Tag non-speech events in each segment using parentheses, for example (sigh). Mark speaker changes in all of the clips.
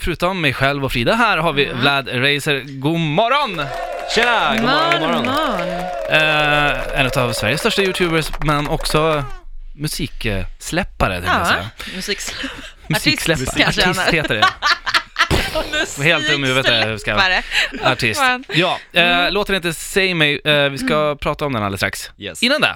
Speaker 1: förutom mig själv och Frida här har vi Vlad Racer. God morgon!
Speaker 2: Mm. Tjena! God morgon, god morgon.
Speaker 1: Eh, en av Sveriges största YouTubers, men också musiksläppare, tänkte jag
Speaker 3: Ja,
Speaker 1: säga.
Speaker 3: musiksläppare.
Speaker 1: Musiksläppare.
Speaker 3: Artist kanske han är.
Speaker 1: Artist heter det.
Speaker 2: (laughs)
Speaker 1: Helt dum i huvudet är jag, hur ska jag-
Speaker 3: Musiksläppare.
Speaker 1: Artist.
Speaker 3: Man.
Speaker 1: Ja,
Speaker 2: Mm.
Speaker 1: eh, låten heter Säg mig. Eh, vi ska prata om den alldeles strax.
Speaker 2: Yes.
Speaker 1: Innan det,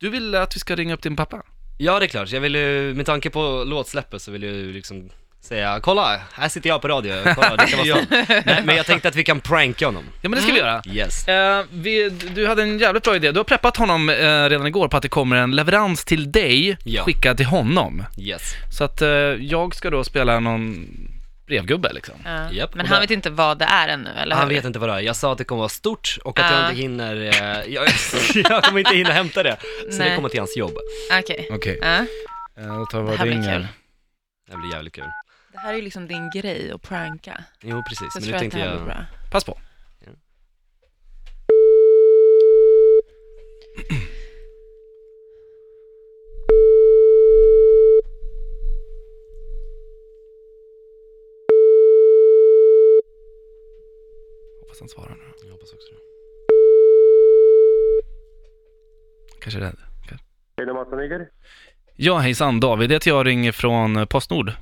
Speaker 1: du vill att vi ska ringa upp din pappa?
Speaker 2: Ja, det är klart. Jag vill ju, med tanke på låtsläppet så vill jag ju liksom säga, kolla, här sitter jag på radio, kolla, det kan
Speaker 3: (laughs)
Speaker 2: vara snabbt. Nej, men jag tänkte att vi kan pranka honom.
Speaker 1: Ja, men det
Speaker 2: Mm.
Speaker 1: ska vi göra.
Speaker 2: Yes.
Speaker 1: Eh, vi, du hade en jävligt bra idé. Du har preppat honom eh, redan igår på att det kommer en leverans till dig,
Speaker 2: Ja.
Speaker 1: skickad till honom.
Speaker 2: Yes.
Speaker 1: Så att eh, jag ska då spela någon brevgubbe liksom.
Speaker 3: Ja.
Speaker 2: Japp,
Speaker 3: Men
Speaker 2: och
Speaker 3: han
Speaker 2: där-
Speaker 3: vet inte vad det är Ah. ännu, eller
Speaker 2: Han
Speaker 3: hur?
Speaker 2: vet inte vad det är. Jag sa att det kommer vara stort och att
Speaker 3: Ja.
Speaker 2: jag inte hinner, eh, jag, (laughs) jag kommer inte hinna hämta det. Så det
Speaker 3: Nej.
Speaker 2: kommer till hans jobb.
Speaker 3: Okej.
Speaker 1: Okej,
Speaker 3: Ja.
Speaker 1: eh, då tar vi
Speaker 3: Det
Speaker 1: och
Speaker 3: här blir
Speaker 1: ringer.
Speaker 3: kul.
Speaker 2: Det blir jävligt kul.
Speaker 3: Det här är ju liksom din grej att pranka.
Speaker 2: Jo, precis.
Speaker 3: Så jag
Speaker 2: men
Speaker 3: tror
Speaker 2: nu
Speaker 3: att
Speaker 2: tänkte
Speaker 3: det här blir
Speaker 2: jag...
Speaker 3: bra.
Speaker 1: Pass på. Hoppas han svarar nu.
Speaker 2: Jag hoppas också det.
Speaker 1: Kanske är rädd. Kanske.
Speaker 4: Är det Mats Nyger?
Speaker 1: Ja, hejsan. David heter jag ringer från eh, Postnord.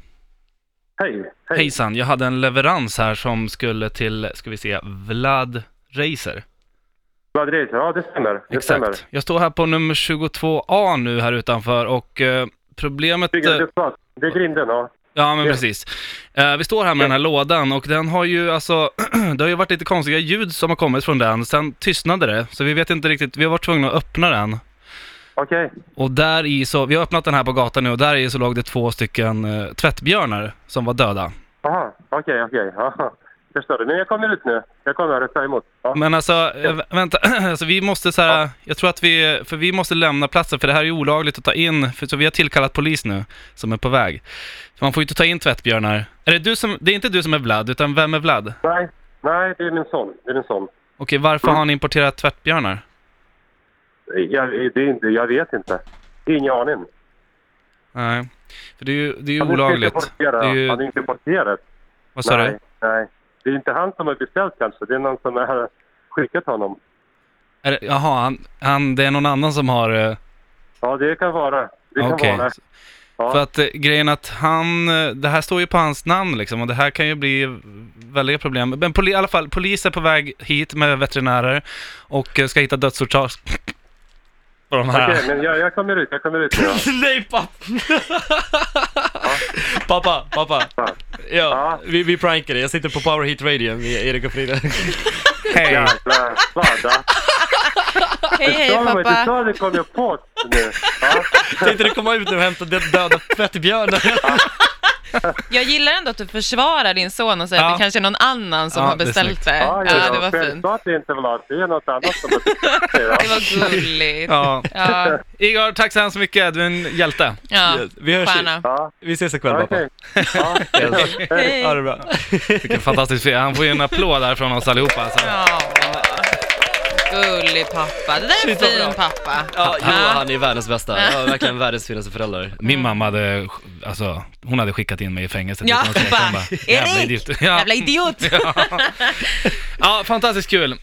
Speaker 4: Hej!
Speaker 1: Hejsan, jag hade en leverans här som skulle till, ska vi se, Vlad Racer.
Speaker 4: Vad reser? Ja, det stämmer. Det stämmer.
Speaker 1: Exakt. Jag står här på nummer 22A nu här utanför och eh, problemet...
Speaker 4: Bygger
Speaker 1: eh,
Speaker 4: du plats? Det är grinden, ja.
Speaker 1: Ja, men
Speaker 4: Ja.
Speaker 1: precis. Eh, vi står här med
Speaker 4: Ja.
Speaker 1: den här lådan och den har ju alltså, (clears throat) det har ju varit lite konstiga ljud som har kommit från den. Sen tystnade det, så vi vet inte riktigt, vi har varit tvungna att öppna den.
Speaker 4: Okej.
Speaker 1: Och där i så, vi har öppnat den här på gatan nu och där i så låg det två stycken eh, tvättbjörnar som var döda.
Speaker 4: Aha, okej, okej. Aha. Förstår du. Men jag kommer ut nu. Jag kommer att ta emot. Ja.
Speaker 1: Men alltså, eh, vä- vänta, (clears throat) alltså vi måste så här, jag tror att vi, för vi måste lämna platsen för det här är ju olagligt att ta in, för, så vi har tillkallat polis nu som är på väg. För man får ju inte ta in tvättbjörnar. Är det du som, det är inte du som är Vlad, utan vem är Vlad?
Speaker 4: Nej, nej, det är min son. Det är min son.
Speaker 1: Okej, varför
Speaker 4: Mm.
Speaker 1: har ni importerat tvättbjörnar?
Speaker 4: Jag, det är inte, jag vet inte. Ingen aning.
Speaker 1: Nej, för det är ju, det är ju
Speaker 4: Han är inte
Speaker 1: olagligt. Det
Speaker 4: importerad.
Speaker 1: är
Speaker 4: Han är
Speaker 1: ju,
Speaker 4: inte importerad.
Speaker 1: vad sa
Speaker 4: nej,
Speaker 1: du?
Speaker 4: nej. Det är inte han som har beställt kanske. Det är någon som har skickat honom.
Speaker 1: Är det- Jaha, han, han, det är någon annan som har... eh,
Speaker 4: Ja, det kan vara. Det kan
Speaker 1: Okej.
Speaker 4: vara. Ja.
Speaker 1: För att eh, grejen att han, eh, det här står ju på hans namn liksom och det här kan ju bli väldiga problem. Men poli, i alla fall, polis är på väg hit med veterinärer och eh, ska hitta dödsorsak (laughs) på de här.
Speaker 4: Okej, men jag, jag kommer ut. Jag kommer
Speaker 1: (laughs)
Speaker 4: ut nu. ja.
Speaker 2: Nej pappa! pappa, pappa.
Speaker 4: Ja.
Speaker 2: Ja,
Speaker 4: Ja.
Speaker 2: vi, vi prankar dig. Jag sitter på Power Hit Radio med Erik och Frida.
Speaker 1: Hej!
Speaker 4: Jävla svada.
Speaker 3: Hej, hej
Speaker 4: Ja, men du
Speaker 3: pappa.
Speaker 4: sa det kom jag på
Speaker 3: (laughs)
Speaker 4: nu. Ja.
Speaker 2: Tänkte du komma ut nu och hämta den döda tvättbjörnen?
Speaker 3: Jag gillar ändå att du försvarar din son och säger
Speaker 1: Ja.
Speaker 3: att det kanske är någon annan som
Speaker 1: Ja,
Speaker 3: har
Speaker 1: det är
Speaker 3: beställt
Speaker 1: snyggt.
Speaker 3: det.
Speaker 4: Ja,
Speaker 3: Ja,
Speaker 4: ja, ja,
Speaker 3: det var fint.
Speaker 4: självklart det är inte Vlad. Det är något annat som har tyckt det.
Speaker 3: Det var gulligt.
Speaker 1: Ja.
Speaker 3: Ja,
Speaker 1: Igor, tack så hemskt mycket. Du är en hjälte.
Speaker 3: ja.
Speaker 2: Vi hörs ju.
Speaker 3: stjärna.
Speaker 4: Ja,
Speaker 2: Vi ses ikväll
Speaker 4: ja,
Speaker 2: pappa.
Speaker 4: okej. Ja,
Speaker 2: Yes.
Speaker 3: Hej.
Speaker 2: Ha det bra.
Speaker 1: Vilken fantastisk fyr. Han får ju en applåd där från oss allihopa. Alltså.
Speaker 3: Ja. Gullig pappa. Det där är en
Speaker 2: Shit, vad bra.
Speaker 3: fin pappa.
Speaker 2: Ja, jo, han är världens bästa. Ja, verkligen världens finaste föräldrar.
Speaker 1: Min mamma hade, alltså, hon hade skickat in mig i fängelset.
Speaker 3: Ja, Eh,
Speaker 1: utan att tänka. Hon (laughs)
Speaker 3: bara,
Speaker 1: jävla
Speaker 3: "Erik, (laughs)
Speaker 1: idiot."
Speaker 3: Jävla idiot.
Speaker 1: Ja, fantastiskt kul.